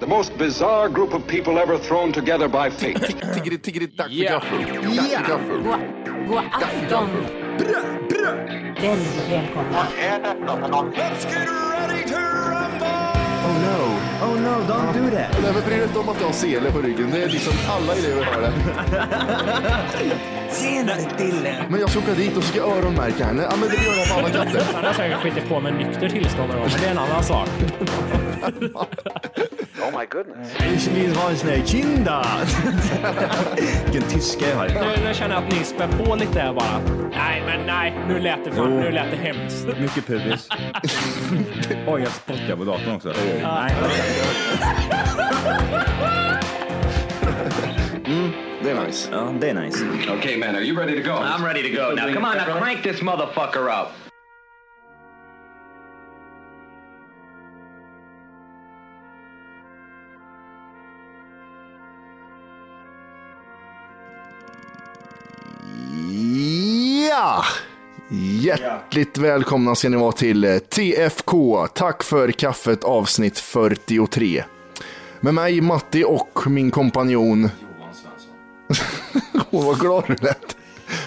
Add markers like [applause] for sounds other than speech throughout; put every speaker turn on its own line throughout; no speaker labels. The most bizarre group of people ever thrown together by fate.
Tiggeri, tiggeri, dack för
Yeah.
gaffel. Dack för gaffel.
God, god afton. Väldigt välkomna.
Oh no, oh no, don't do that.
Nej, men bry dig inte om att jag har sele på ryggen. Det är liksom alla elever har det.
Senare Dille.
Men jag ska åka dit och ska öronmärka henne. Ja, men det gör jag på alla katter.
Han har säkert skitit på med nykter tillstånd då, men det är en annan sak.
Ich will ha en sån här kinda. [laughs] Vilken tyska jag har.
Nu, nu känner jag att ni spär på lite här bara. Nej, men nej. Nu lät det, fan, nu lät det hemskt.
Mycket pubis. Oj, jag spottar på datorn också. Nej,
Det är nice.
ja, det är nice.
okay, man, are you ready to go?
I'm ready to go. Now, come on, now crank this motherfucker up.
Ja! Hjärtligt välkomna ska ni vara till eh, TFK. Tack för kaffet avsnitt 43. Med mig Matti och min kompanjon. [laughs] Åh, vad glad du lät.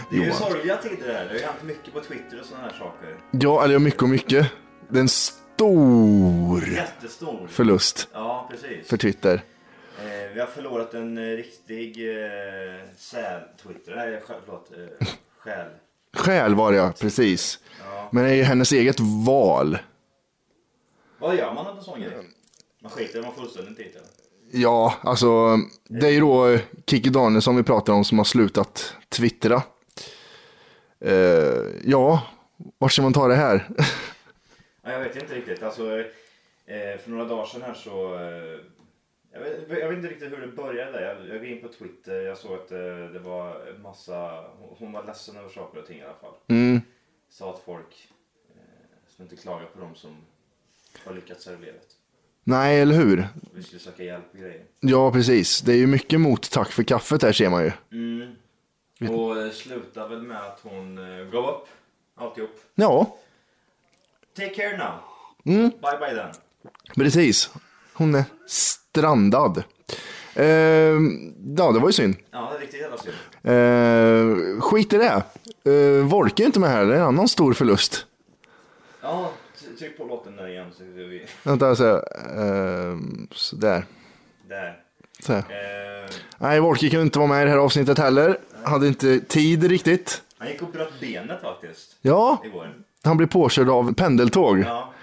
Det är ju
Johan.
sorgliga tider det här. Det har ju hänt mycket på Twitter och sådana här saker.
Ja, eller mycket och mycket. Det är en stor
Jättestor.
förlust
Ja, precis.
för Twitter.
Eh, vi har förlorat en eh, riktig eh, säl-Twitter. Nej, själ- förlåt.
[laughs]
Eh, själ.
Själ var det ja, precis. Men det är ju hennes eget val.
Vad gör man av en sån grej? Man skiter i man fullständigt i det.
Ja, alltså det är ju då eh, Kiki Danielsson vi pratar om som har slutat twittra. Eh, ja, vart ska man ta det här? [laughs]
Ja, jag vet inte riktigt. Alltså, eh, för några dagar sedan här så... Eh, jag, vet, jag vet inte riktigt hur det började. där. Jag, jag gick in på Twitter. Jag såg att eh, det var en massa... Hon var ledsen över saker och ting i alla fall.
Mm,
Sa att folk eh, ska inte klaga på dem som har lyckats här i livet.
nej, eller hur?
Vi skulle söka hjälp och grejer.
Ja, precis. Det är ju mycket mot tack för kaffet här ser man ju.
Mm. Och eh, slutade väl med att hon eh, gav upp alltihop.
Ja,
Take care now.
Mm.
Bye bye then.
precis. Hon är strandad. Eh, ja, det var ju synd.
Ja, det är riktigt jävla synd.
Eh, skit i det. Eh, Wolke är inte med här, det är en annan stor förlust.
Ja, t- tryck på låten där igen så ser vi.
Vänta, så, eh, sådär.
Där.
Så här.
Eh,
Nej, Wolke kunde inte vara med i det här avsnittet heller. Hade inte tid riktigt.
han gick och bröt benet faktiskt.
Ja,
Igår.
han blev påkörd av pendeltåg.
Ja,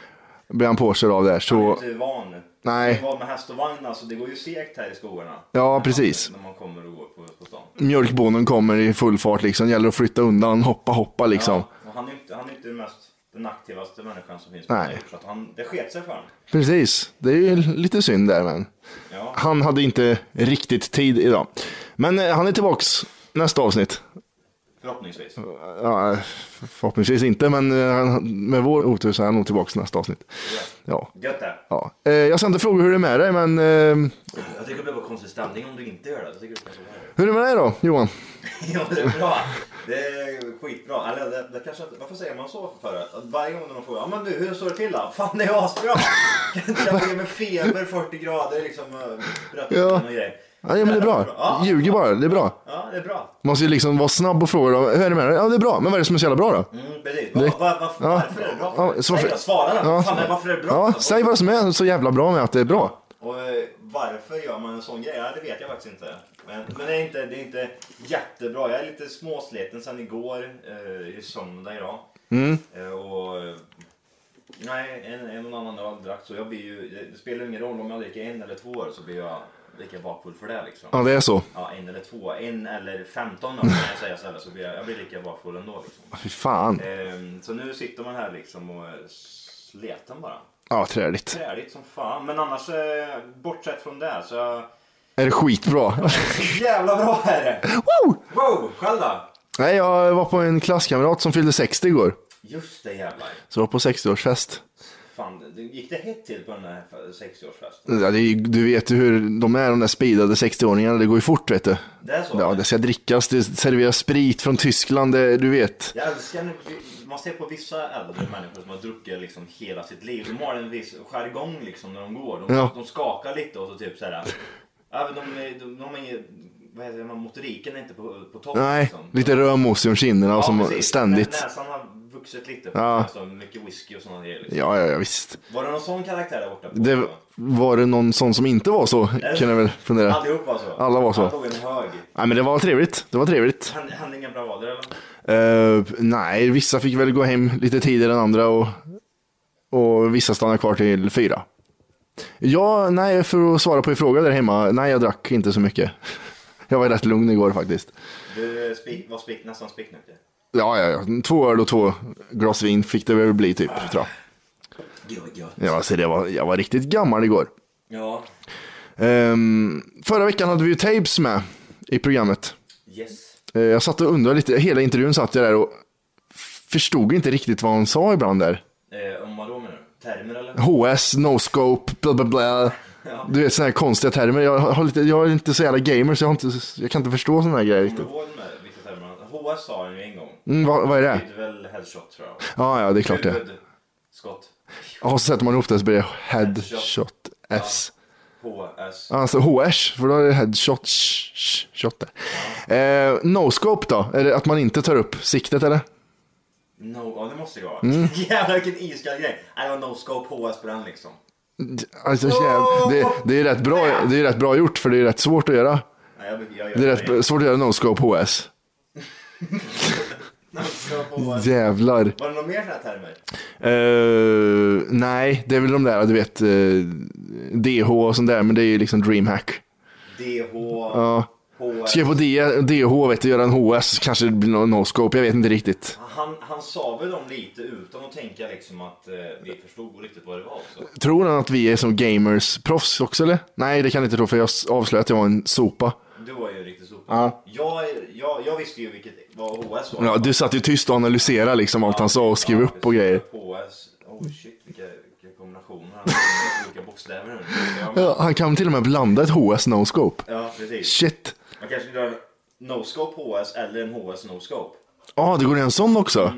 Blev han påkörd av där.
han är
Så,
inte van.
Nej.
Han är van med häst och vagn alltså. Det går ju segt här i skogarna.
ja, precis.
När man kommer och går på, på stan.
Mjölkbonden kommer i full fart liksom. Gäller att flytta undan, hoppa, hoppa liksom.
Ja, och han är inte, han är inte den mest den aktivaste människan som finns
Nej.
jorden, Så att han, det sket sig för honom.
Precis, det är ju lite synd där men.
Ja.
Han hade inte riktigt tid idag. Men eh, han är tillbaks nästa avsnitt.
Förhoppningsvis.
Ja, förhoppningsvis inte, men eh, han- med vår otur så är han nog tillbaka nästa avsnitt. Ja.
Gött det.
ja. Eh, Jag ska inte fråga hur det är med dig, men eh,
Jag tycker det blir bara konstig stämning om du inte gör det. Jag tycker det kanske är
hur är det med dig då, Johan?
[laughs] Ja, det är bra. Det är skitbra. Eller det, det kanske inte, varför säger man så för? Att varje gång någon frågar, ja men du hur står det till då? Fan det är asbra! [laughs] Jag ligger med feber, 40 grader liksom. eh, Bröt
Ja.
ja. och grejer.
Ja, ja, men det är bra.
Ja.
Ljuger bara, det är bra.
Ja, det är bra.
Man måste ju liksom vara snabb och fråga dem, hur är det med dig? Ja, det är bra, men vad är det som är så jävla bra då?
Mm, precis. Va, va, varför-
Ja.
Varför är det bra?
Ja, så varför-
Nej, jag svarar då.
Ja.
Fan, men varför är det bra?
Ja, säg vad som är så jävla bra med att det är bra.
Och eh, varför gör man en sån grej? Ja, det vet jag faktiskt inte. Men, men det, är inte, det är inte jättebra. Jag är lite småsliten sen igår, eh, i söndag idag. Eh, och, eh, nej, en, en och annan öl drack så jag blir ju, det- det spelar ingen roll om jag dricker en eller två öl så blir jag lika bakfull för det liksom.
Ja, det är så.
Ja, en eller två, en eller femton öl kan jag säga så, här, så blir jag, jag blir lika bakfull ändå liksom.
Fy fan.
Eh, så nu sitter man här liksom och är sleten bara.
Ja, träligt.
Träligt som fan. Men annars, eh, bortsett från det så jag
Är det skitbra?
Jävla bra är det!
Wow!
Wow, själv då?
Nej, jag var på en klasskamrat som fyllde 60 igår.
Just det jävlar.
Så jag var på 60-årsfest.
fan, det- gick det hett till på den här 60-årsfesten?
Ja, det är, ju- du vet ju hur de är, de där speedade 60-åringarna. Det går ju fort, vet du.
Det är så?
Ja, det ska drickas, det serveras sprit från Tyskland, det, du vet.
Jag älskar när man ser på vissa äldre människor som har druckit liksom hela sitt liv. De har en viss jargong liksom när de går. De,
Ja.
de skakar lite och så typ så här. ja, men de, är- de, de är, vad heter det, motoriken är inte på, på topp.
Nej,
liksom.
lite rödmos ur kinderna och
Ja,
som
precis.
ständigt.
Men Näsan har vuxit lite.
Ja.
Alltså, mycket whisky och sådana grejer. Liksom.
Ja, ja, ja, visst.
Var det någon sån karaktär där borta? På?
Det, var det någon sån som inte var så? Kan jag väl fundera.
Allihop var så?
Alla var så.
Han tog en hög.
Nej, men det var trevligt. Det var trevligt.
Hände- Hände inga bravader eller?
Eh, nej, vissa fick väl gå hem lite tidigare än andra och, och vissa stannade kvar till fyra. Ja, nej, för att svara på er fråga där hemma. Nej, jag drack inte så mycket. [laughs] Jag var rätt lugn igår faktiskt.
Du spik, var spik, nästan spiknykter.
Ja, ja, ja. Två öl och två glas vin fick det väl bli typ, tror
Gud vad gött.
jag. Ja, så det var, jag var riktigt gammal igår.
Ja.
Ehm, förra veckan hade vi ju Tapes med i programmet.
Yes.
Eh, jag satt och undrade lite, hela intervjun satt jag där och förstod inte riktigt vad han sa ibland där.
Eh, om vad då menar du? Termer eller?
HS, no scope, bla bla bla. Du vet sådana här konstiga termer. Jag, har lite, jag är inte så jävla gamer så jag, har inte, jag kan inte förstå sådana här grejer
Kommer
riktigt.
du ihåg de här- vilka termer? han- HS sa han ju en gång.
Mm, vad, vad är
Det
det?
är väl headshot tror jag.
Ja, ja, det är klart det.
Huvud, skott,
Och så sätter man ihop det så blir det headshot S.
HS.
Alltså HS, för då är det headshot sh- sh- shot där. Eh, no scope då? Är det att man inte tar upp siktet eller?
No, ja det måste det vara.
Mm.
[laughs] Jävlar vilken iskall grej. Nej, det var no scope HS på den liksom.
Alltså, jäv... det, det, är rätt bra, det är rätt bra gjort för det är rätt svårt att göra.
Nej, jag, jag gör
Det är rätt svårt att göra no scope HS.
No scope HS.
Jävlar.
Var det några mer sådana här termer?
Eh, nej, det är väl de där, du vet, eh, DH och sånt där, men det är ju liksom DreamHack.
DH,
Ja.
HS.
Ska jag på D- DH, vet du, göra en HS, kanske det blir någon no-scope, jag vet inte riktigt.
Han, han sa väl dem lite utan att tänka liksom att eh, vi förstod riktigt vad det var också.
Tror han att vi är som gamers proffs också eller? Nej, det kan jag inte tro för jag s- avslöjade att jag var en sopa.
Du var ju riktigt sopa.
Ja.
Jag, jag, jag visste ju vilket, vad HS var.
Ja, du satt ju tyst och analyserade liksom allt han sa och skrev
Ja,
upp och
precis.
grejer.
HS. Oh shit, vilka, vilka kombinationer han har med olika bokstäver nu. Ja, men-
Ja, han kan till och med blanda ett HS no-scope.
Ja, precis.
Shit.
Man kanske drar en no-scope HS eller en HS no-scope.
Ja, det går en sån också.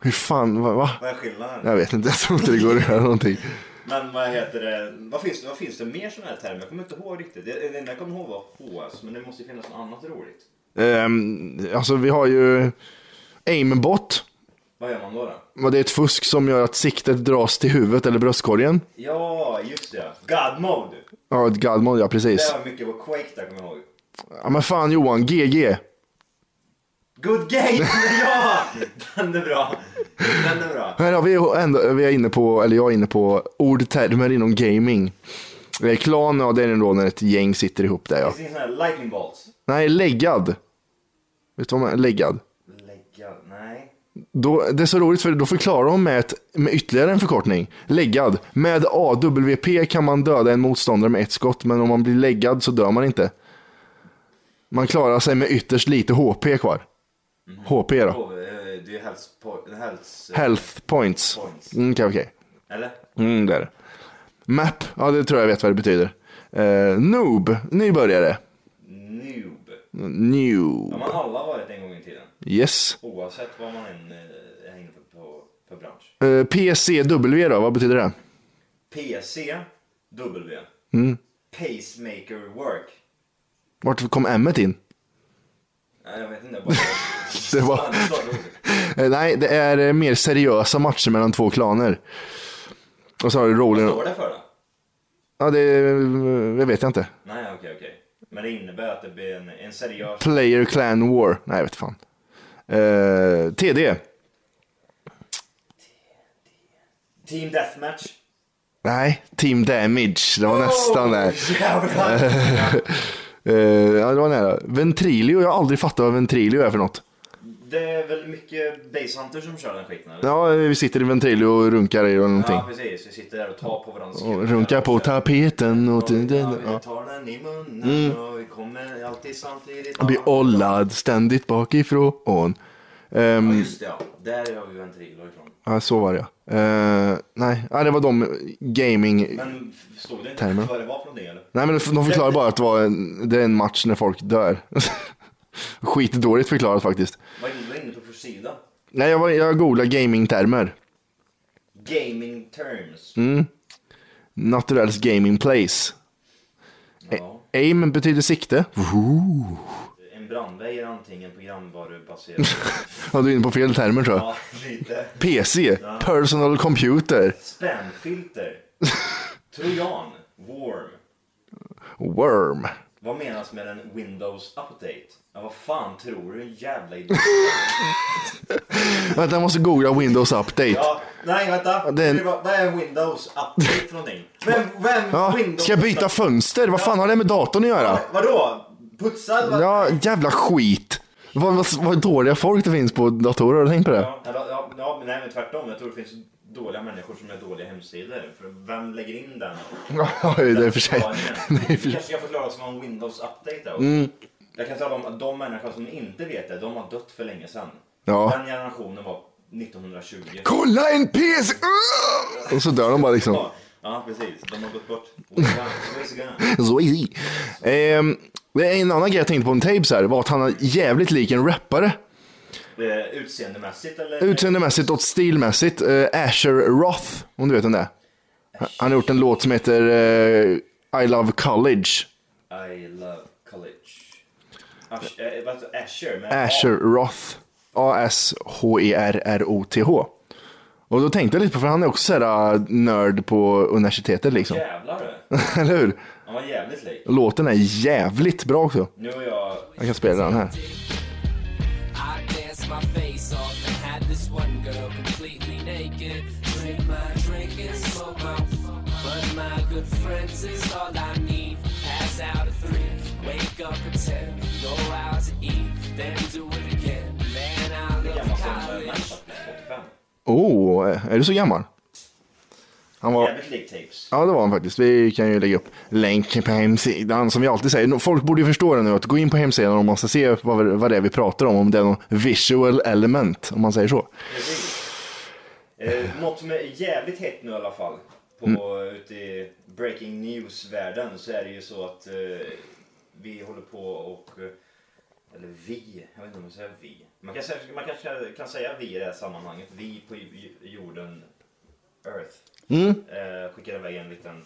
Hur fan, va? va?
Vad är skillnaden?
Jag vet inte, jag tror inte det går att göra någonting.
Men vad heter det? Vad finns, vad finns det mer sådana här termer? Jag kommer inte ihåg riktigt. Det det enda jag kommer ihåg var HS, men det måste ju finnas något annat roligt.
Ehm, alltså vi har ju aimbot.
Vad gör man då? då?
Vad Det är ett fusk som gör att siktet dras till huvudet eller bröstkorgen.
Ja, just det. God mode!
Ja, ett gadmod, ja
Det
precis.
var mycket på Quake där kommer jag ihåg.
Ja, men fan Johan, GG.
Good game! [laughs] ja! Den är bra. Den är bra.
Här har vi ändå, vi är inne på, eller jag är inne på, ordtermer inom gaming. Eh, Klan, ja det är då när ett gäng sitter ihop där ja.
Det finns sådana här lightning bolts.
Nej, läggad. Vet du vad man är? Läggad.
Lägga, nej.
Då, det är så roligt för då förklarar de med, ett, med ytterligare en förkortning. Läggad. Med AWP kan man döda en motståndare med ett skott, men om man blir läggad så dör man inte. Man klarar sig med ytterst lite HP kvar. HP då.
Oh, eh, det är ju health, po- health, eh,
Health points.
Points.
Mm, Okej, okej.
Eller?
Mm, där. Map. Ja, det tror jag vet vad det betyder. Eh, noob. Nybörjare.
Noob.
New.
Har man alla varit en gång i tiden?
Yes.
Oavsett vad man än eh, är inne på, på, för bransch.
Eh, PCW då, vad betyder det?
PC, W. Pacemaker work.
Vart kom M in?
Nej, jag vet inte, jag bara...
Det var...
Fan, det sa du ordet.
Eh, Nej, det är eh, mer seriösa matcher mellan två klaner. Och så har du
Vad
rolling...
står det för då?
Ja, det, eh, jag vet jag inte.
Nej, okej, okej. Men det innebär att det blir en, en seriös...
Player Clan War. Nej, jag vet fan. Eh, TD.
Team Deathmatch.
Nej, Team Damage. Det var
Oh!
nästan där.
Jävlar!
[laughs] Eh, ja, det var nära. Ventrilio. Jag har aldrig fattat vad Ventrilio är för något.
Det är väl mycket basehunter som kör den skiten eller?
Ja, vi sitter i Ventrilio och runkar i och någonting.
Ja, precis. Vi sitter där och tar på varandras
Och
skuldror.
runkar på tapeten och...
Ja,
Ja. Mm.
vi tar den i munnen och vi kommer alltid samtidigt.
Blir ollad ständigt bakifrån.
Ja, just det ja. Där har vi ventiler ifrån.
Ja, så var det ja. Eh, nej, ja, det var de gaming...
Men f- stod det inte
Termer.
vad det var för någonting eller?
Nej, men de förklarar bara att det, var en, det är en match när folk dör. [laughs] Skitdåligt förklarat faktiskt.
Vad är du inne på för sida?
Nej, jag, var, jag googlade gamingtermer.
Gaming terms.
Mm. Naturells gaming place.
Ja.
Aim betyder sikte.
En brandväg är antingen programvarubaserad.
[laughs] Ja, du är inne på fel termer tror jag.
ja, lite.
PC, personal computer,
Spamfilter. Trojan. Worm.
worm.
Vad menas med en Windows update? Ja, vad fan tror du? En jävla idiot.
Vänta, jag måste googla Windows Update.
Ja, nej vänta.
Det är en-
Det var- Vad är Windows update för någonting? Vem, vem
Ja,
Windows
ska jag byta fönster? Vad fan har det med datorn att göra?
Vadå? Putsad? va?
Ja, jävla skit. Vad, vad, vad dåliga folk det finns på datorer, har du tänkt på det?
Ja, eller- ja, ja, men nej men tvärtom. Jag tror det finns dåliga människor som är dåliga hemsidor. För vem lägger in den?
Ja, det är i och för sig. [laughs] Mm. det är
Vi
för
kanske ska förklara som en Windows update då. Jag kan tala om att de människor som inte vet det, de har dött för länge sedan.
Ja.
Den generationen var 1920.
Kolla en PC! Och så dör de bara liksom.
Ja, precis. De har gått bort. Ways gone.
Så easy. Ehm, det är en annan grej jag tänkte på om Tabes här var att han är jävligt lik en rappare.
Eh, Utseendemässigt eller?
Utseendemässigt och stilmässigt. eh, Asher Roth, om du vet vem det är. Han- Han har gjort en låt som heter eh, I Love College.
I love college. Ash, eh, vad heter- Asher? Men,
Asher Roth. E A-S-H-E-R-R-O-T-H. Och då tänkte jag lite på, för han är också såhär nörd på universitetet liksom.
Jävlar
[laughs]
du.
Eller hur?
Han var jävligt lik.
Låten är jävligt bra också.
Nu har jag...
Jag kan spela den här.
I danced my face off and had this one girl completely naked. Drink my drink and smoke my weed. But my good friends is all I need. Pass out at three, wake up at ten, go out to eat, then do it again. Man,
Hur
I love
gammal som eh,
college.
Mike var? 85.
Oh, är du så gammal? Han var...
Jävligt lik tapes.
Ja, det var han faktiskt. Vi kan ju lägga upp länken på hemsidan som vi alltid säger. Folk borde ju förstå det nu, att gå in på hemsidan om man ska se vad, vad det är vi pratar om, om det är någon visual element, om man säger så.
Precis. Eh, något som är jävligt hett nu i alla fall. På,
Mm.
Ute i breaking news-världen så är det ju så att eh, vi håller på och... eh, Eller vi, jag vet inte om man säger vi. Man, kan, säga- man kanske kan säga vi i det här sammanhanget. Vi på ju- jorden, Earth.
Mm.
Eh, skickar iväg en liten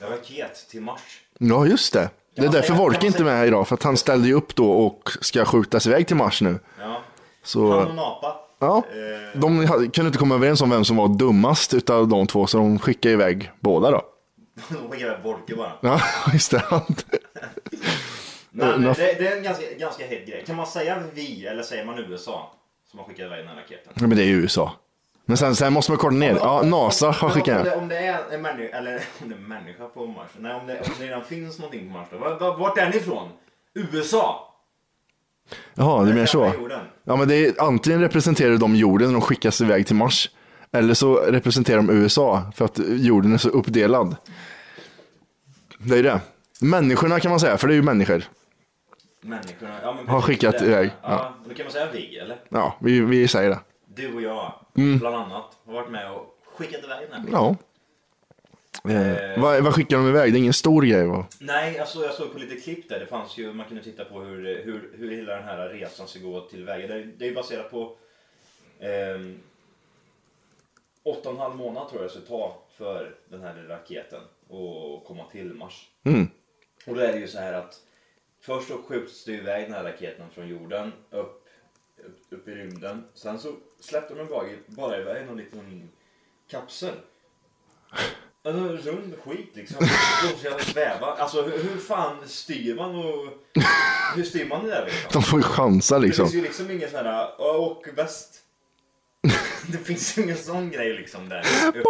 raket till Mars.
Ja, just det. Det är
man
därför
säga-
Wolke
kan man
inte är med idag, för att han ställde ju upp då och ska skjutas iväg till Mars nu.
Ja. Han
Så,
och en apa.
ja.
Eh,
De hade- kunde inte komma överens om vem som var dummast utav de två, så de skickade iväg båda då.
[laughs] de skickar iväg Wolke bara.
Ja, [laughs] just det.
Nej, men
Enough.
det, det är en ganska, ganska het grej. Kan man säga vi eller säger man USA? Som har skickat iväg den här raketen.
Ja, Men det är ju USA. Men sen, sen måste man kolla ner. Ja, NASA har
Men
skickat
om,
den.
det, om det är en människa, eller [laughs] om det är en människa på Mars. Nej, om det, om det redan finns någonting på Mars då. Vart, vart- vart är ni ifrån? USA?
Jaha, du menar så.
Jävla jorden.
Ja, men det är, antingen representerar de jorden när de skickas iväg till Mars. Eller så representerar de USA för att jorden är så uppdelad. Det är det. Människorna kan man säga, för det är ju människor.
Människorna. Ja, men
Har skickat
det.
iväg,
Ja.
ja.
Då kan man säga vi eller?
Ja, vi, vi säger det.
Du och jag bland annat har varit med och skickat iväg den här.
Mm. Ja. Eh, vad, vad skickar de iväg? Det är ingen stor grej va?
Nej, alltså jag såg på lite klipp där. Det fanns ju, man kunde titta på hur, hur, hur hela den här resan ska gå tillväga. Det, det är ju baserat på ehm, åtta och en halv månad tror jag det skulle ta för den här lilla raketen att komma till Mars. Och då är det ju så här att först så skjuts det iväg den här raketen från jorden upp, upp, upp i rymden. Sen så släppte de bara, bara iväg någon liten kapsel. Alltså, En rund skit liksom. De ska sväva. Alltså hur, hur fan styr man och... Hur styr man det där liksom?
De får ju chansa
Det
liksom.
finns ju liksom ingen sån här "Ö, åk väst. [laughs] Det finns ju ingen sån grej liksom där uppe.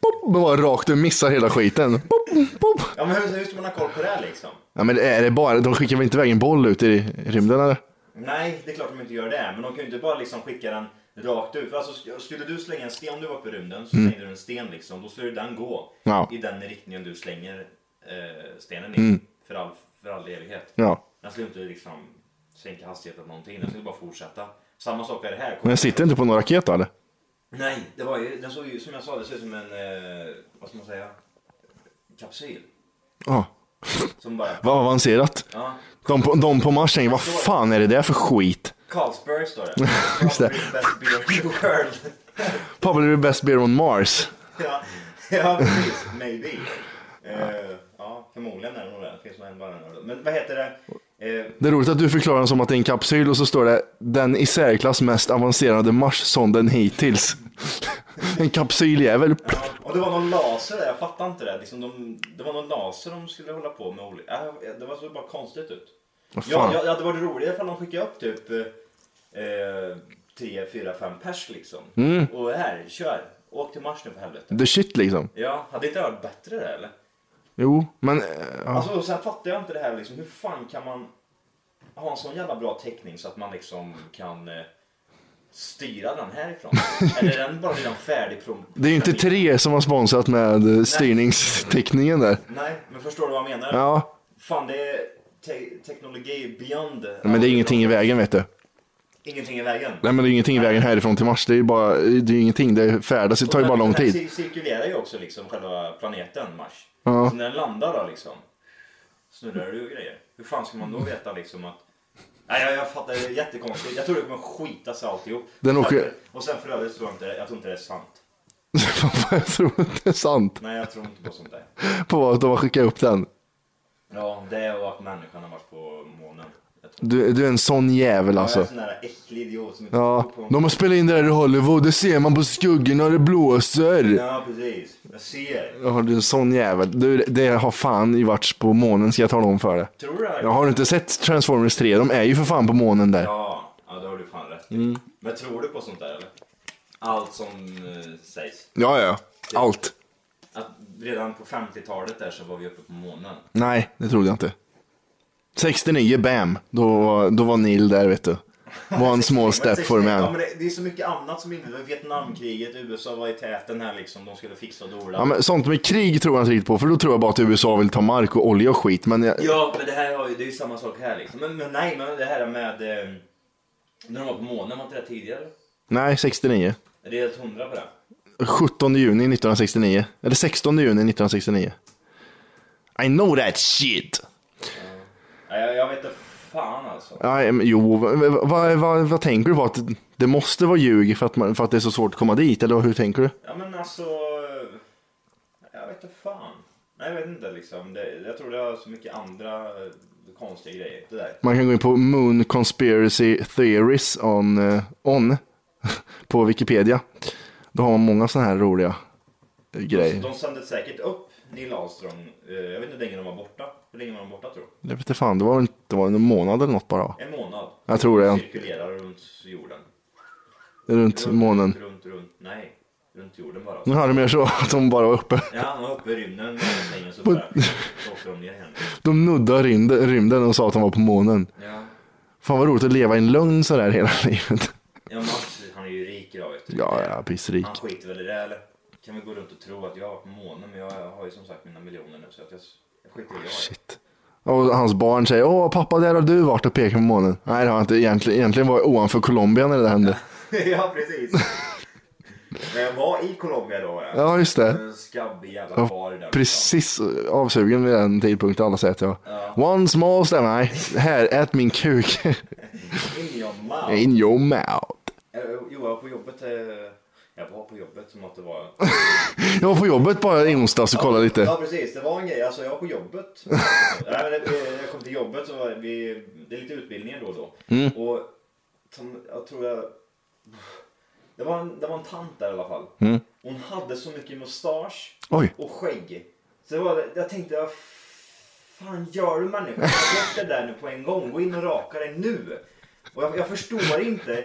Pop, bara rakt, du missar hela skiten. Pop, pop.
Ja men hur, hur ska man ha koll på det här liksom?
Ja, men är det bara, de skickar väl inte iväg en boll ut i rymden eller?
Nej, det är klart de inte gör det. Men de kan ju inte bara liksom skicka den rakt ut. För Alltså, sk- skulle du slänga en sten om du var uppe i rymden så slängde du en sten liksom. Då skulle den gå
Mm. Ja. Mm.
i den riktningen du slänger eh, stenen i. För, all, för all evighet.
Ja.
Den skulle inte liksom sänka hastigheten någonting. Den skulle bara fortsätta. Samma sak är det här.
Men den sitter inte på någon raket då, eller?
Nej, det var ju, den såg ju som jag sa, det såg ut som en, eh, vad ska man säga, kapsyl.
Ja.
Som bara,
Vad avancerat.
ja.
De på, de på Mars tänker, vad fan är det där för skit?
Carlsberg står det. Carlsberg best beer in the world. [laughs]
Probably the best beer on Mars.
ja, ja, precis. Maybe. Eh, ja, förmodligen är det nog det. Det finns nog en bara en öl. Men vad heter det? Eh,
Det är roligt att du förklarar den som att det är en kapsyl och så står det den i särklass mest avancerade Mars-sonden hittills. [laughs] en kapsyljävel.
ja, och det var någon laser där, jag fattar inte det. Liksom de, det var någon laser de skulle hålla på med. Olika, äh, det var så bara konstigt ut.
Vad fan?
Ja, ja, det hade varit roligare ifall de skickade upp typ eh, 3, 4, 5 pers liksom.
Mm.
Och här, kör. Åk till Mars nu för helvete.
The shit liksom.
Ja, hade inte det varit bättre det eller?
Jo, men... eh, Ja.
Alltså, och sen fattar jag inte det här liksom, hur fan kan man ha en sån jävla bra täckning så att man liksom kan eh, styra den härifrån?
[laughs]
Eller är den bara redan färdig? Prom-
Det är ju inte tre som har sponsrat med eh, styrningsteckningen där.
Nej, men förstår du vad jag menar?
Ja,
Fan, det är te- teknologi beyond.
men det är ingenting i vägen vet du.
Ingenting i vägen.
Nej men det är ingenting i vägen härifrån till Mars. Det är ju bara, det är ju ingenting. Det färdas, det tar ju bara lång
Den här
tid.
cir- cirkulerar ju också liksom själva planeten Mars.
Ja.
Så när den landar då liksom snurrar det ju grejer. Hur fan ska man då veta liksom att Nej, jag, jag fattar, det är jättekonstigt. Jag tror det kommer skita sig alltihop.
Den åker-
Och sen för övrigt tror jag inte, jag tror inte det är sant.
[laughs] [laughs] jag tror inte det är sant
Nej, jag tror inte på sånt där.
på att de har skickat upp den.
Ja, det är att människan har varit på månen. Jag tror.
Du, du är en sån jävel
Jag är
alltså.
en sån där äcklig idiot som inte
Ja,
tror på
de har spelat in det där i Hollywood, det ser man på skuggorna, det blåser.
Ja, precis. Jag ser.
Ja, du är en sån jävel. Du, det har fan ju varit på månen ska jag tala om för dig.
Tror du det? här?
Jag har du inte sett Transformers 3? De är ju för fan på månen där.
Ja, ja, det har du fan rätt i.
Mm.
Men tror du på sånt där eller? Allt som eh, sägs.
Ja, ja. Allt.
Att redan på 50-talet där så var vi uppe på månen.
Nej, det trodde jag inte. 69, bam. Då, då var Neil där vet du. One
[laughs]
small step for
Ja,
man.
men det, det är så mycket annat som inne. Vietnamkriget, USA var i täten här liksom. De skulle fixa och dola.
Ja, men sånt med krig tror jag inte riktigt på, för då tror jag bara att USA vill ta mark och olja och skit. Men jag,
Ja, men det här har ju, det är ju samma sak här liksom. Men, men nej, men det här med... Eh, när de var på månen, var inte det tidigare?
nej, 69.
Är det helt hundra på det?
17 juni 1969. Eller 16 juni 1969. I know that shit!
Nej, jag, jag vet inte fan alltså.
Nej, men jo, vad, vad, vad, vad tänker du på? Att det måste vara ljug för att, man, för att det är så svårt att komma dit? Eller hur tänker du?
Ja, men alltså... eh, Jag vet inte fan. Nej, jag vet inte liksom. Det, jag tror det har så mycket andra eh, konstiga grejer. Det där.
Man kan gå in på Moon Conspiracy Theories on, eh, on [laughs] på Wikipedia. Då har man många sådana här roliga eh, grejer.
De sände säkert upp Neil Armstrong. eh, Jag vet inte hur länge de var borta. Hur länge var de borta tror du?
Jag vet inte fan, det var väl inte det var en månad eller något bara? va?
En månad.
Jag tror det.
Cirkulerar runt jorden.
Runt månen.
Runt, runt, runt. Nej. Runt jorden bara.
Nu hade det mer så att de bara var uppe.
Ja, han var uppe i rymden. Sängen så där. Så åkte de ner igen.
De nuddade rymden, rymden och sa att de var på månen.
Ja.
Fan vad roligt att leva i en lögn sådär hela [laughs] livet.
Ja, Mats, han är ju rik idag vet du.
Ja, ja, pissrik.
Han skiter väl i det eller? Kan vi gå runt och tro att jag har varit på månen men jag har ju som sagt mina miljoner nu så att jag, jag skiter i det. jag är.
Ah, Shit. Och hans barn säger, åh pappa, där har du varit och pekat på månen. Nej, det har jag inte. Egentligen, egentligen var jag ovanför Colombia när det där hände.
[laughs] ja, precis. Men jag var i Colombia då var jag.
Ja, just det.
En skabbig jävla
Jag
bar
var
där.
precis avsugen vid den tidpunkten alla säger att jag One small step, nej, här, ät min kuk. [laughs]
In your mouth.
In your mouth.
Eh, Jo, jag var på jobbet. eh, Jag var på jobbet som att det var...
Jag var på jobbet bara i onsdags och kollade lite.
Ja, precis. Det var en grej. Alltså, jag var på jobbet. Nej, men det- jag kom till jobbet så var vi... Det är lite utbildningar då och då. Och som, jag tror jag... Det var, en, det var en tant där i alla fall. Hon hade så mycket mustasch
Oj.
och skägg. Så det var, jag tänkte, vad fan gör du människa? Släpp det där nu på en gång. Gå in och raka dig nu. Och jag, jag förstår inte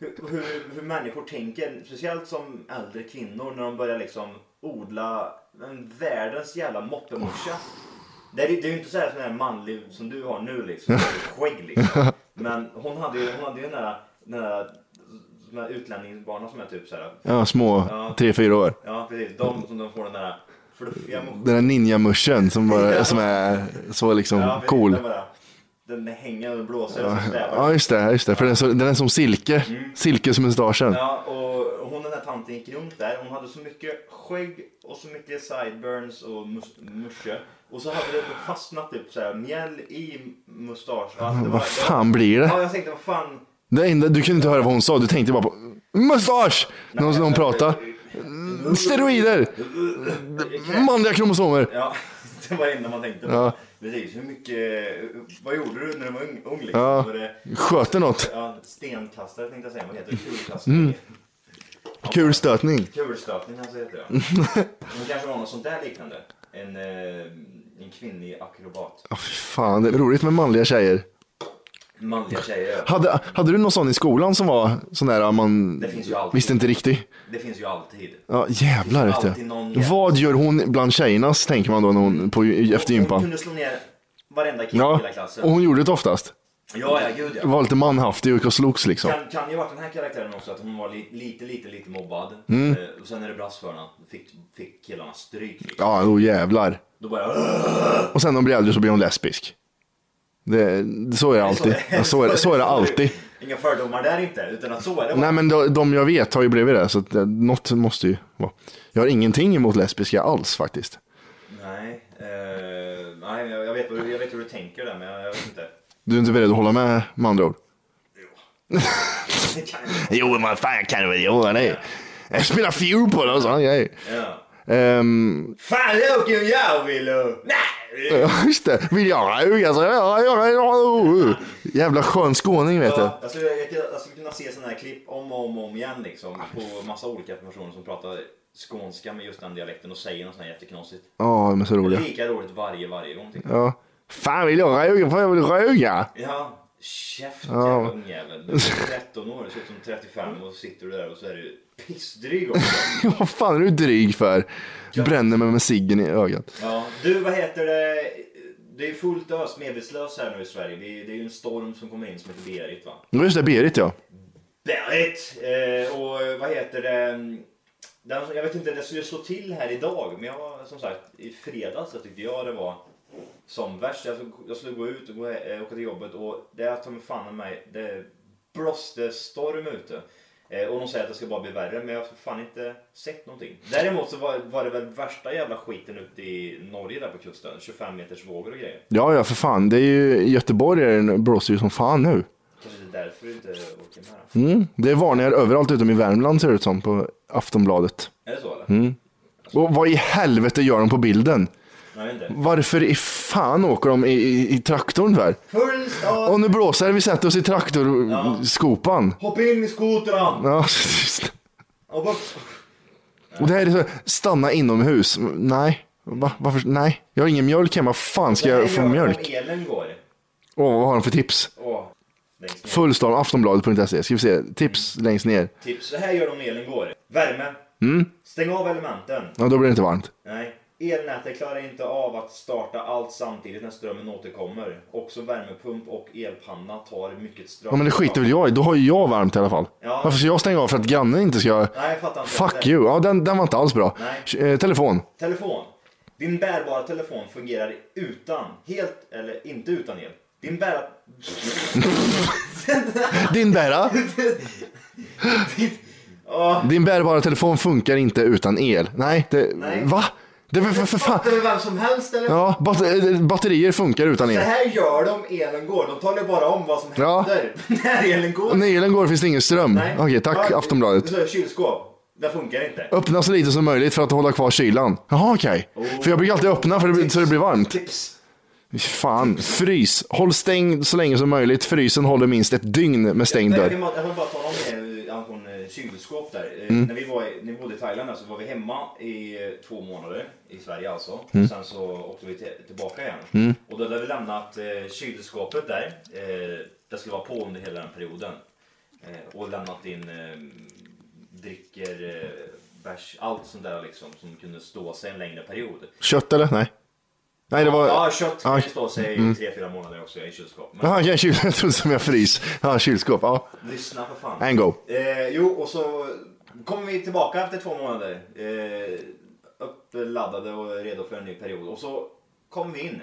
hur, hur, hur människor tänker. Speciellt som äldre kvinnor när de börjar liksom odla en världens jävla moppemorsa. Det är, det är ju inte så här sån här manlig som du har nu liksom. Skägg liksom. Men hon hade ju, hon hade ju den där, den där, de här utlänningsbarnen som är typ så här.
Ja, små, tre, fyra år.
Ja precis, de som de får den där fluffiga morsan.
Den där ninjamuschen som, bara, som är så liksom
Ja, precis,
cool.
det var det. Den hänger och blåser och så
Ja,
svävar.
just det. Just det. För den är, så, den är som silke. Silkesmustaschen.
Ja, och hon den där tanten gick runt där. Hon hade så mycket skägg och så mycket sideburns och mus- musche. Och så hade det fastnat typ så här mjäll i mustasch. Alltså, det var-
Vad fan blir det?
Ja, jag tänkte vad fan.
det enda, du kunde inte höra vad hon sa. Du tänkte bara på mustasch! När hon, när hon pratade. Steroider! Manliga kromosomer.
Ja, det var det enda man tänkte på.
Ja.
Precis, hur mycket, vad gjorde du när du var ung? ung liksom?
Ja.
Var det,
Sköt det något?
ja, stenkastare tänkte jag säga, vad heter det? Kulkastare? Mm.
Kul stötning.
Kulstötning alltså heter det.
[laughs]
Men kanske var något sånt där liknande. En, eh, en kvinnlig akrobat.
Ja, fy fan, det är roligt med manliga tjejer.
Manliga tjejer. ja.
Hade, hade du någon sån i skolan som var sån där ah, man
Det finns ju alltid.
visste inte riktigt?
Det finns ju alltid.
Ja, jävlar.
Det finns
Vet
alltid någon
jag.
jävel.
Vad gör hon bland tjejernas, tänker man då när hon på, efter
Hon
gympan?
kunde slå ner varenda kille i
Ja,
hela klassen.
och hon gjorde det oftast.
Ja, ja, gud ja.
Var lite manhaftig och slogs liksom.
Kan, kan ju ha varit den här karaktären också, att hon var li, lite, lite, lite mobbad.
Mm.
Eh, och sen när det brast för henne, fick, fick killarna stryk. Liksom.
Ja, då jävlar.
Då bara...
Och sen när hon blir äldre så blir hon lesbisk. Det, så är det alltid. Ja, så, är det, så
[laughs]
är det alltid.
Inga fördomar där inte, utan att så är det bara.
Nej men de, de jag vet har ju blivit det, så att, eh, något måste ju vara. Jag har ingenting emot lesbiska alls faktiskt.
Nej, eh, nej jag, jag, vet, vad du- jag vet hur du tänker där, men jag, jag vet inte.
Du är inte beredd att hålla med med andra ord?
Det kan jag inte.
Jo, men fan jag kan väl göra det. Jag spelar fjol på det och sån grej.
Ja.
Ehm,
Fan, Loken, jag vill och... Nej!
ja, just det, vill jag ruga så jag gör det. Jävla skön skåning vet du.
Ja, alltså, jag, jag, jag skulle kunna se sådana här klipp om och om, och om igen liksom, på massa olika personer som pratar skånska med just den dialekten och säger något sånt här jätteknasigt.
Ja, de är så roliga.
Lika roligt varje, varje gång. tycker jag.
Ja. Fan vill jag ruga för jag vill ruga.
Ja, käft
Ja.
jävla ungjävel. Du är 13 år, du ser ut som 35 och så sitter du där och så är du pissdryg också.
[laughs] [laughs] Vad fan är du dryg för? Bränner mig med ciggen i ögat.
Ja, du vad heter det? Det är fullt ös, medvetslös här nu i Sverige. Det är, det är ju en storm som kommer in som heter Berit va?
Just det, Berit ja.
Berit! Eh, och vad heter det? Mm, Den, jag vet inte, det skulle slå till här idag. Men jag var som sagt, i fredags så tyckte jag det var som värst. Jag skulle, jag skulle gå ut och gå, eh, åka till jobbet och det är ta mig fan med mig, det blåste storm ute. Eh, och de säger att det ska bara bli värre, men jag har för fan inte sett någonting. Däremot så var, var det väl värsta jävla skiten ute i Norge där på kusten. 25 meters vågor och grejer.
Ja, ja för fan. Det är ju, i Göteborg är det blåser ju som fan nu.
Kanske det är därför du inte åker med. då.
Mm. Det är varningar överallt utom i Värmland ser det ut som på Aftonbladet.
Är det så eller?
Och vad i helvete gör de på bilden?
Nej, jag vet inte.
Varför i fan åker de i, i, i traktorn för?
Full start!
Och nu blåser det, vi sätter oss i traktorskopan.
Hoppa in i skotran!
Ja, [laughs] just.
Och bara...
och det här är så, stanna inomhus. Nej, Va? varför? Nej, jag har ingen mjölk hemma. fan ska jag få
Om
mjölk?
elen går.
Åh, vad har de för tips?
Åh, längst ner.
Fullstorm, aftonbladet.se. Ska vi se, tips längst ner.
Tips, så här gör de om elen går. Värme.
Mm.
Stäng av elementen.
Ja, då blir det inte varmt.
Nej. Elnätet klarar inte av att starta allt samtidigt när strömmen återkommer. Också värmepump och elpanna tar mycket ström.
Ja, men det skiter väl jag i. Då har ju jag varmt i alla fall.
Ja.
Varför ska jag stänga av för att grannen inte ska...
Nej, jag fattar inte.
Fuck you. Ja, den, den var inte alls bra.
Nej.
Eh, telefon.
Telefon. Din bärbara telefon fungerar utan, helt eller inte utan el. Din [laughs] bär...
Din bära.
Åh,
Din bärbara telefon funkar inte utan el. Nej, det...
Nej.
Va? Det är väl för, för fan...
fattar du vem som helst eller?
Ja, bat eh, batterier funkar utan
Det
el.
här gör de om elen går. De talar ju bara om vad som
Ja.
händer [laughs] när elen går.
När elen går finns det ingen ström. Okej, tack
Ja,
Aftonbladet.
Så är det kylskåp. Det funkar inte.
Öppna så lite som möjligt för att hålla kvar kylan. Jaha, okej. För jag brukar alltid öppna för det, blir- så det blir varmt.
Tips.
Fan, frys. Håll stängd så länge som möjligt. Frysen håller minst ett dygn med stängd
Nej, Jag
dörr.
vill bara jag vill bara tala om det eh, angående eh, kylskåp där. Eh, När, vi var i, när vi bodde i Thailand där, så var vi hemma i eh, två månader, i Sverige alltså. Och sen så åkte vi till, tillbaka igen. Och då hade vi lämnat eh, kylskåpet där. Eh, det skulle vara på under hela den perioden. Eh, och lämnat in eh, drycker, eh, bärs, allt sånt där liksom som kunde stå sig en längre period.
Kött eller? Nej. Nej, det var...
Ja, Mm. kött kan
Ja.
ju stå sig i tre, fyra månader också i kylskåp. Men
Jaha, okej, kyl... [laughs] jag trodde som jag frys. Ja, kylskåp. Ja.
lyssna för fan.
En go.
Eh, jo, och så kommer vi tillbaka efter två månader. Eh, uppladdade och redo för en ny period. Och så kom vi in.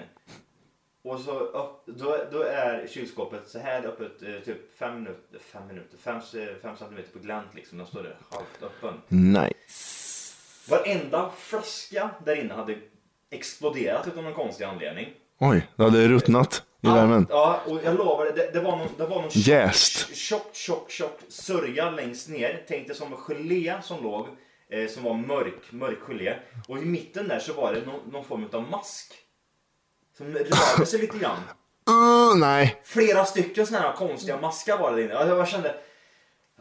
Och så upp, då, då är kylskåpet så här öppet eh, typ 5 minuter, 5 minuter, 5, centimeter på glänt liksom. Den står där halvt öppen.
Nice.
Varenda flaska där inne hade exploderat utan någon konstig anledning.
Oj, det hade ruttnat i värmen.
Ja, och jag lovar, det, det var någon, det var någon tjock,
Jäst.
tjock, tjock, tjock sörja längst ner. Tänk dig som en gelé som låg, eh, som var mörk, mörk gelé. Och i mitten där så var det någon, någon form av mask. Som rörde sig lite grann.
Uh, nej.
Flera stycken sådana här konstiga maskar var det där inne. Alltså, jag bara kände,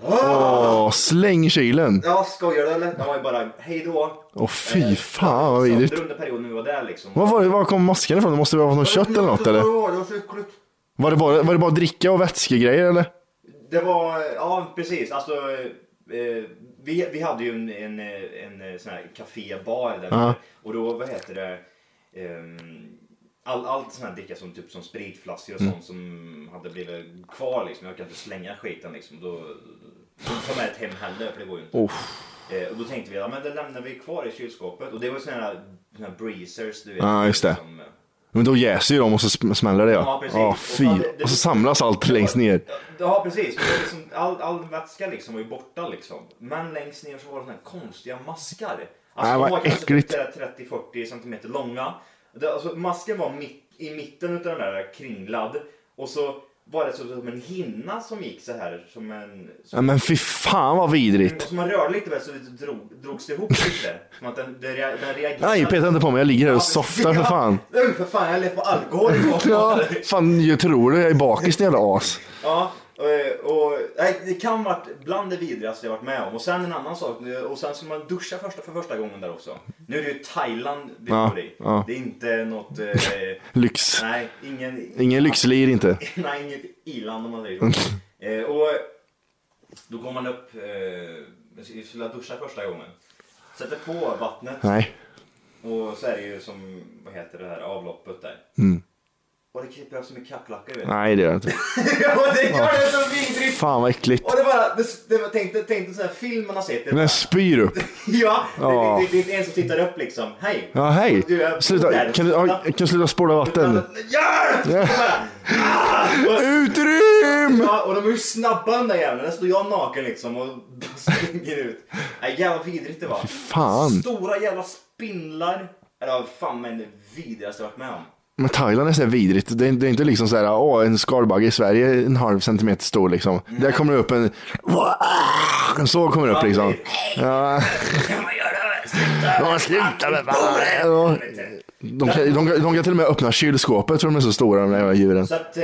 Åh, släng kylen.
ja skojar du eller? Det var ju bara, hej då.
Åh fy fan vad
Sönder
vidrigt.
under perioden vi var där liksom.
Var, var, det- var kom masken ifrån? Det måste vara något kött eller något eller?
Det var, det var så äckligt.
Var det bara, var det bara dricka och vätskegrejer eller?
Det var, ja precis. Alltså, eh, vi, vi hade ju en, en, en, en sån här kafébar där.
Ja.
Och då, vad heter det? ehm, all, allt sån här dricka som typ som spritflaskor
Mm.
och sånt som hade blivit kvar liksom. Jag kan inte slänga skiten liksom. Då, då ta med ett hem heller för det går ju inte.
Oh.
Eh, och då tänkte vi, ja men det lämnar vi kvar i kylskåpet. Och det var såna här, såna här breezers du vet.
Ja, just det.
liksom.
Men då jäser ju de och så sm- smäller det
Ja,
ja.
precis.
Ja,
Och
fy.
det- det-
Och så samlas allt längst ner.
Ja precis, Det var liksom, all, all vätska liksom var ju borta liksom. Men längst ner så var det såna här konstiga maskar.
Nej,
Alltså de
vad
var
äckligt.
kanske 30-40 centimeter långa. Det, alltså, masken var mitt, i mitten utav den där kringlad. Och så var det så, som en hinna som gick så här som en... Som,
Ja, men fy fan vad vidrigt.
som man rörde lite väl så det drog, drogs det ihop lite. Som att den, den, rea- den reagerade.
Nej, peta inte på mig. Jag ligger här och softar för fan.
Ja, för fan, jag lät på alkohol igår.
[laughs] Ja, fan jag tror det. Jag är bakis din jävla as.
Ja, och, och, nej, det kan vara bland det vidrigaste jag varit med om. Och sen en annan sak, eh, och sen ska man duscha första, för första gången där också. Nu är det ju Thailand vi
Ja,
bor i.
ja.
Det är inte
[laughs]
något... Eh,
Lyx.
nej, ingen...
Ingen lyxlir inte.
[laughs] Nej, inget i-land om man säger
[laughs]
så. eh, och då går man upp, eh, vi skulle duscha första gången. Sätter på vattnet.
Nej.
Och så är det ju som, vad heter det här avloppet där. Och det kryper som i kackerlackor [laughs] vet du.
Mm. Nej, det gör jag inte.
och det gör det så vidrigt!
Fan vad äckligt.
Och det bara, det, det var, tänk dig tänk dig en sån här film man har sett. Det,
Den här spyr upp.
[laughs] ja, det,
Ja.
det, det, det är inte en som tittar upp liksom. Hej!
Ja, hej.
Du är-
Sluta.
där.
Kan du, ja, kan du sluta spåra vatten?
Hjälp! Och bara,
Utrym!
Ja, och de är ju snabba de där jävlarna. Där står jag naken liksom och [laughs] springer ut. Nej, jävlar vad vidrigt det var.
fan.
Stora jävla spindlar. Eller vad fan men det vidrigaste jag varit med om.
Men Thailand är så här vidrigt. Det är, det är inte liksom så här, åh, en skalbagge i Sverige är en halv centimeter stor liksom. Där kommer det upp en... En så kommer det upp liksom. Ja,
Kan man göra? Sluta!
Ja, sluta med fan. Ja. De kan, de, kan, de kan till och med öppna kylskåpet för de är så stora de där jävla djuren.
Så att, eh,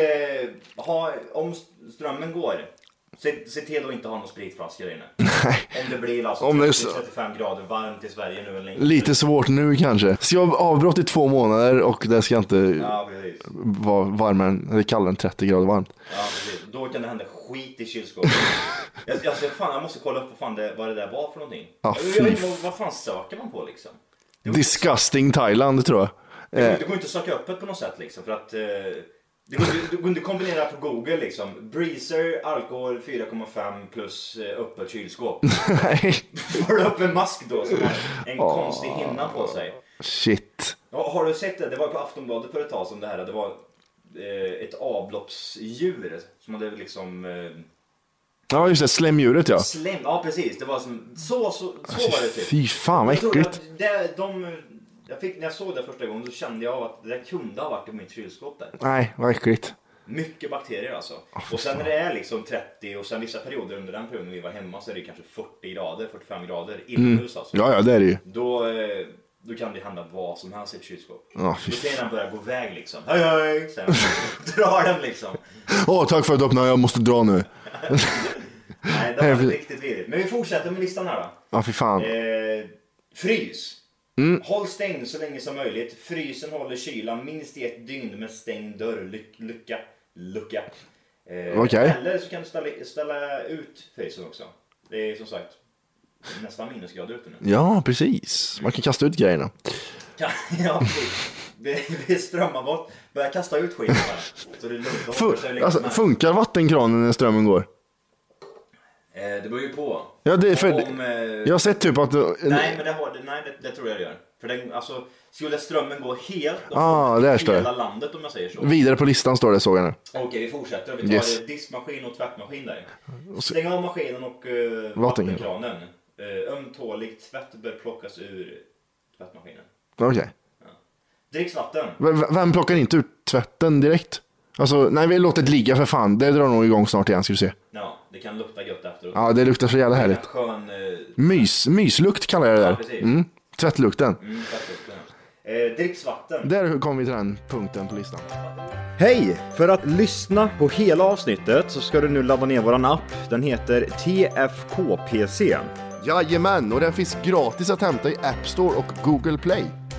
ha, om strömmen går, se, se till att inte ha någon spritflaska där inne. om det blir alltså
Om det är så-
35 grader varmt i Sverige nu en länge.
Lite svårt nu kanske. Så jag har avbrott i två månader och det ska inte
Ja precis.
vara varmare än, eller kallare än 30 grader varmt.
ja, precis. Då kan det hända skit
[laughs]
i kylskåpet. jag, jag, ser- fan, jag måste kolla upp vad, fan det, vad det där var för någonting.
Ja,
jag,
Ah, fy
jag vet inte, vad, vad fan söker man på liksom?
Disgusting Thailand tror jag. [laughs]
Det går inte att söka upp det på något sätt liksom för att eh, det går inte- det går inte att kombinera på Google liksom. Breezer, alkohol 4,5 plus eh, öppet kylskåp.
Nej.
Får du upp en mask då som har en
Ah.
konstig hinna på sig?
Shit.
Ja, har du sett det? Det var på Aftonbladet för ett tag som det här. Det var eh, ett avloppsdjur som hade liksom eh,
Ja just det, slemdjuret ja.
slem. Ja precis, det var som så, så, så var det typ.
Alltså. Fy fan vad
Jag tror
äckligt.
att det, de, jag fick, när jag såg det första gången då kände jag att det där kunde ha varit i mitt kylskåp där.
Nej, vad äckligt.
Mycket bakterier alltså.
Ah,
Och sen när det är liksom 30 och sen vissa perioder under den perioden vi var hemma så är det kanske 40 grader, 45 grader inomhus alltså.
Ja, ja det är det ju.
Då, eh, då kan det hända vad som helst i ett kylskåp.
Ja, fy
då kan den börja gå iväg liksom. Hej hej! Sen drar den liksom.
Åh, tack för att du öppnade, jag måste dra nu.
Nej, det var riktigt vidrigt. Men vi fortsätter med listan här då.
Ja, fy fan.
Eh, frys.
Mm.
Håll stängd så länge som möjligt. Frysen håller kylan minst i ett dygn med stängd dörr. Lyck, lucka. Lucka. Eh,
Okej.
Eller så kan du ställa, ställa ut frysen också. Det är som sagt nästan minusgrader ute nu.
Ja, precis. Man kan kasta ut grejerna.
Ja, [laughs] ja, det, det strömmar bort. Börja kasta ut skiten bara. Så det är lugnt. De håller sig
Fun-
länge
alltså,
med.
funkar vattenkranen när strömmen går?
Eh, Det beror ju på.
Ja, det är för...
Om, eh,
Jag har sett typ att...
Nej, men det, har, nej det, det tror jag det gör. För den, alltså, Skulle strömmen gå helt
Ah, där står det.
hela landet om jag säger så.
Vidare på listan står det, såg jag nu.
Okej, vi fortsätter. Vi tar
Yes.
eh, diskmaskin och tvättmaskin där. Stäng av maskinen och uh,
Vattenkranen.
vattenkranen. Uh, ömtålig tvätt bör plockas ur tvättmaskinen.
Okej.
Dricks vatten.
V- v- Vem plockar inte ut tvätten direkt? Alltså, nej, vi låter det ligga för fan. Det drar nog igång snart igen, ska du se.
Ja, det kan lukta gött efteråt.
Ja, det luktar så jävla
Det är en
härligt.
Skön eh,
Mys, myslukt kallar jag det
Ja,
där.
precis.
Mm, tvättlukten.
mm, tvättlukt. ja. Eh, Dricks vatten.
Där kom vi till den punkten på listan.
Hej! För att lyssna på hela avsnittet så ska du nu ladda ner våran app. Den heter TFKPC.
Jajamän, och den finns gratis att hämta i App Store och Google Play.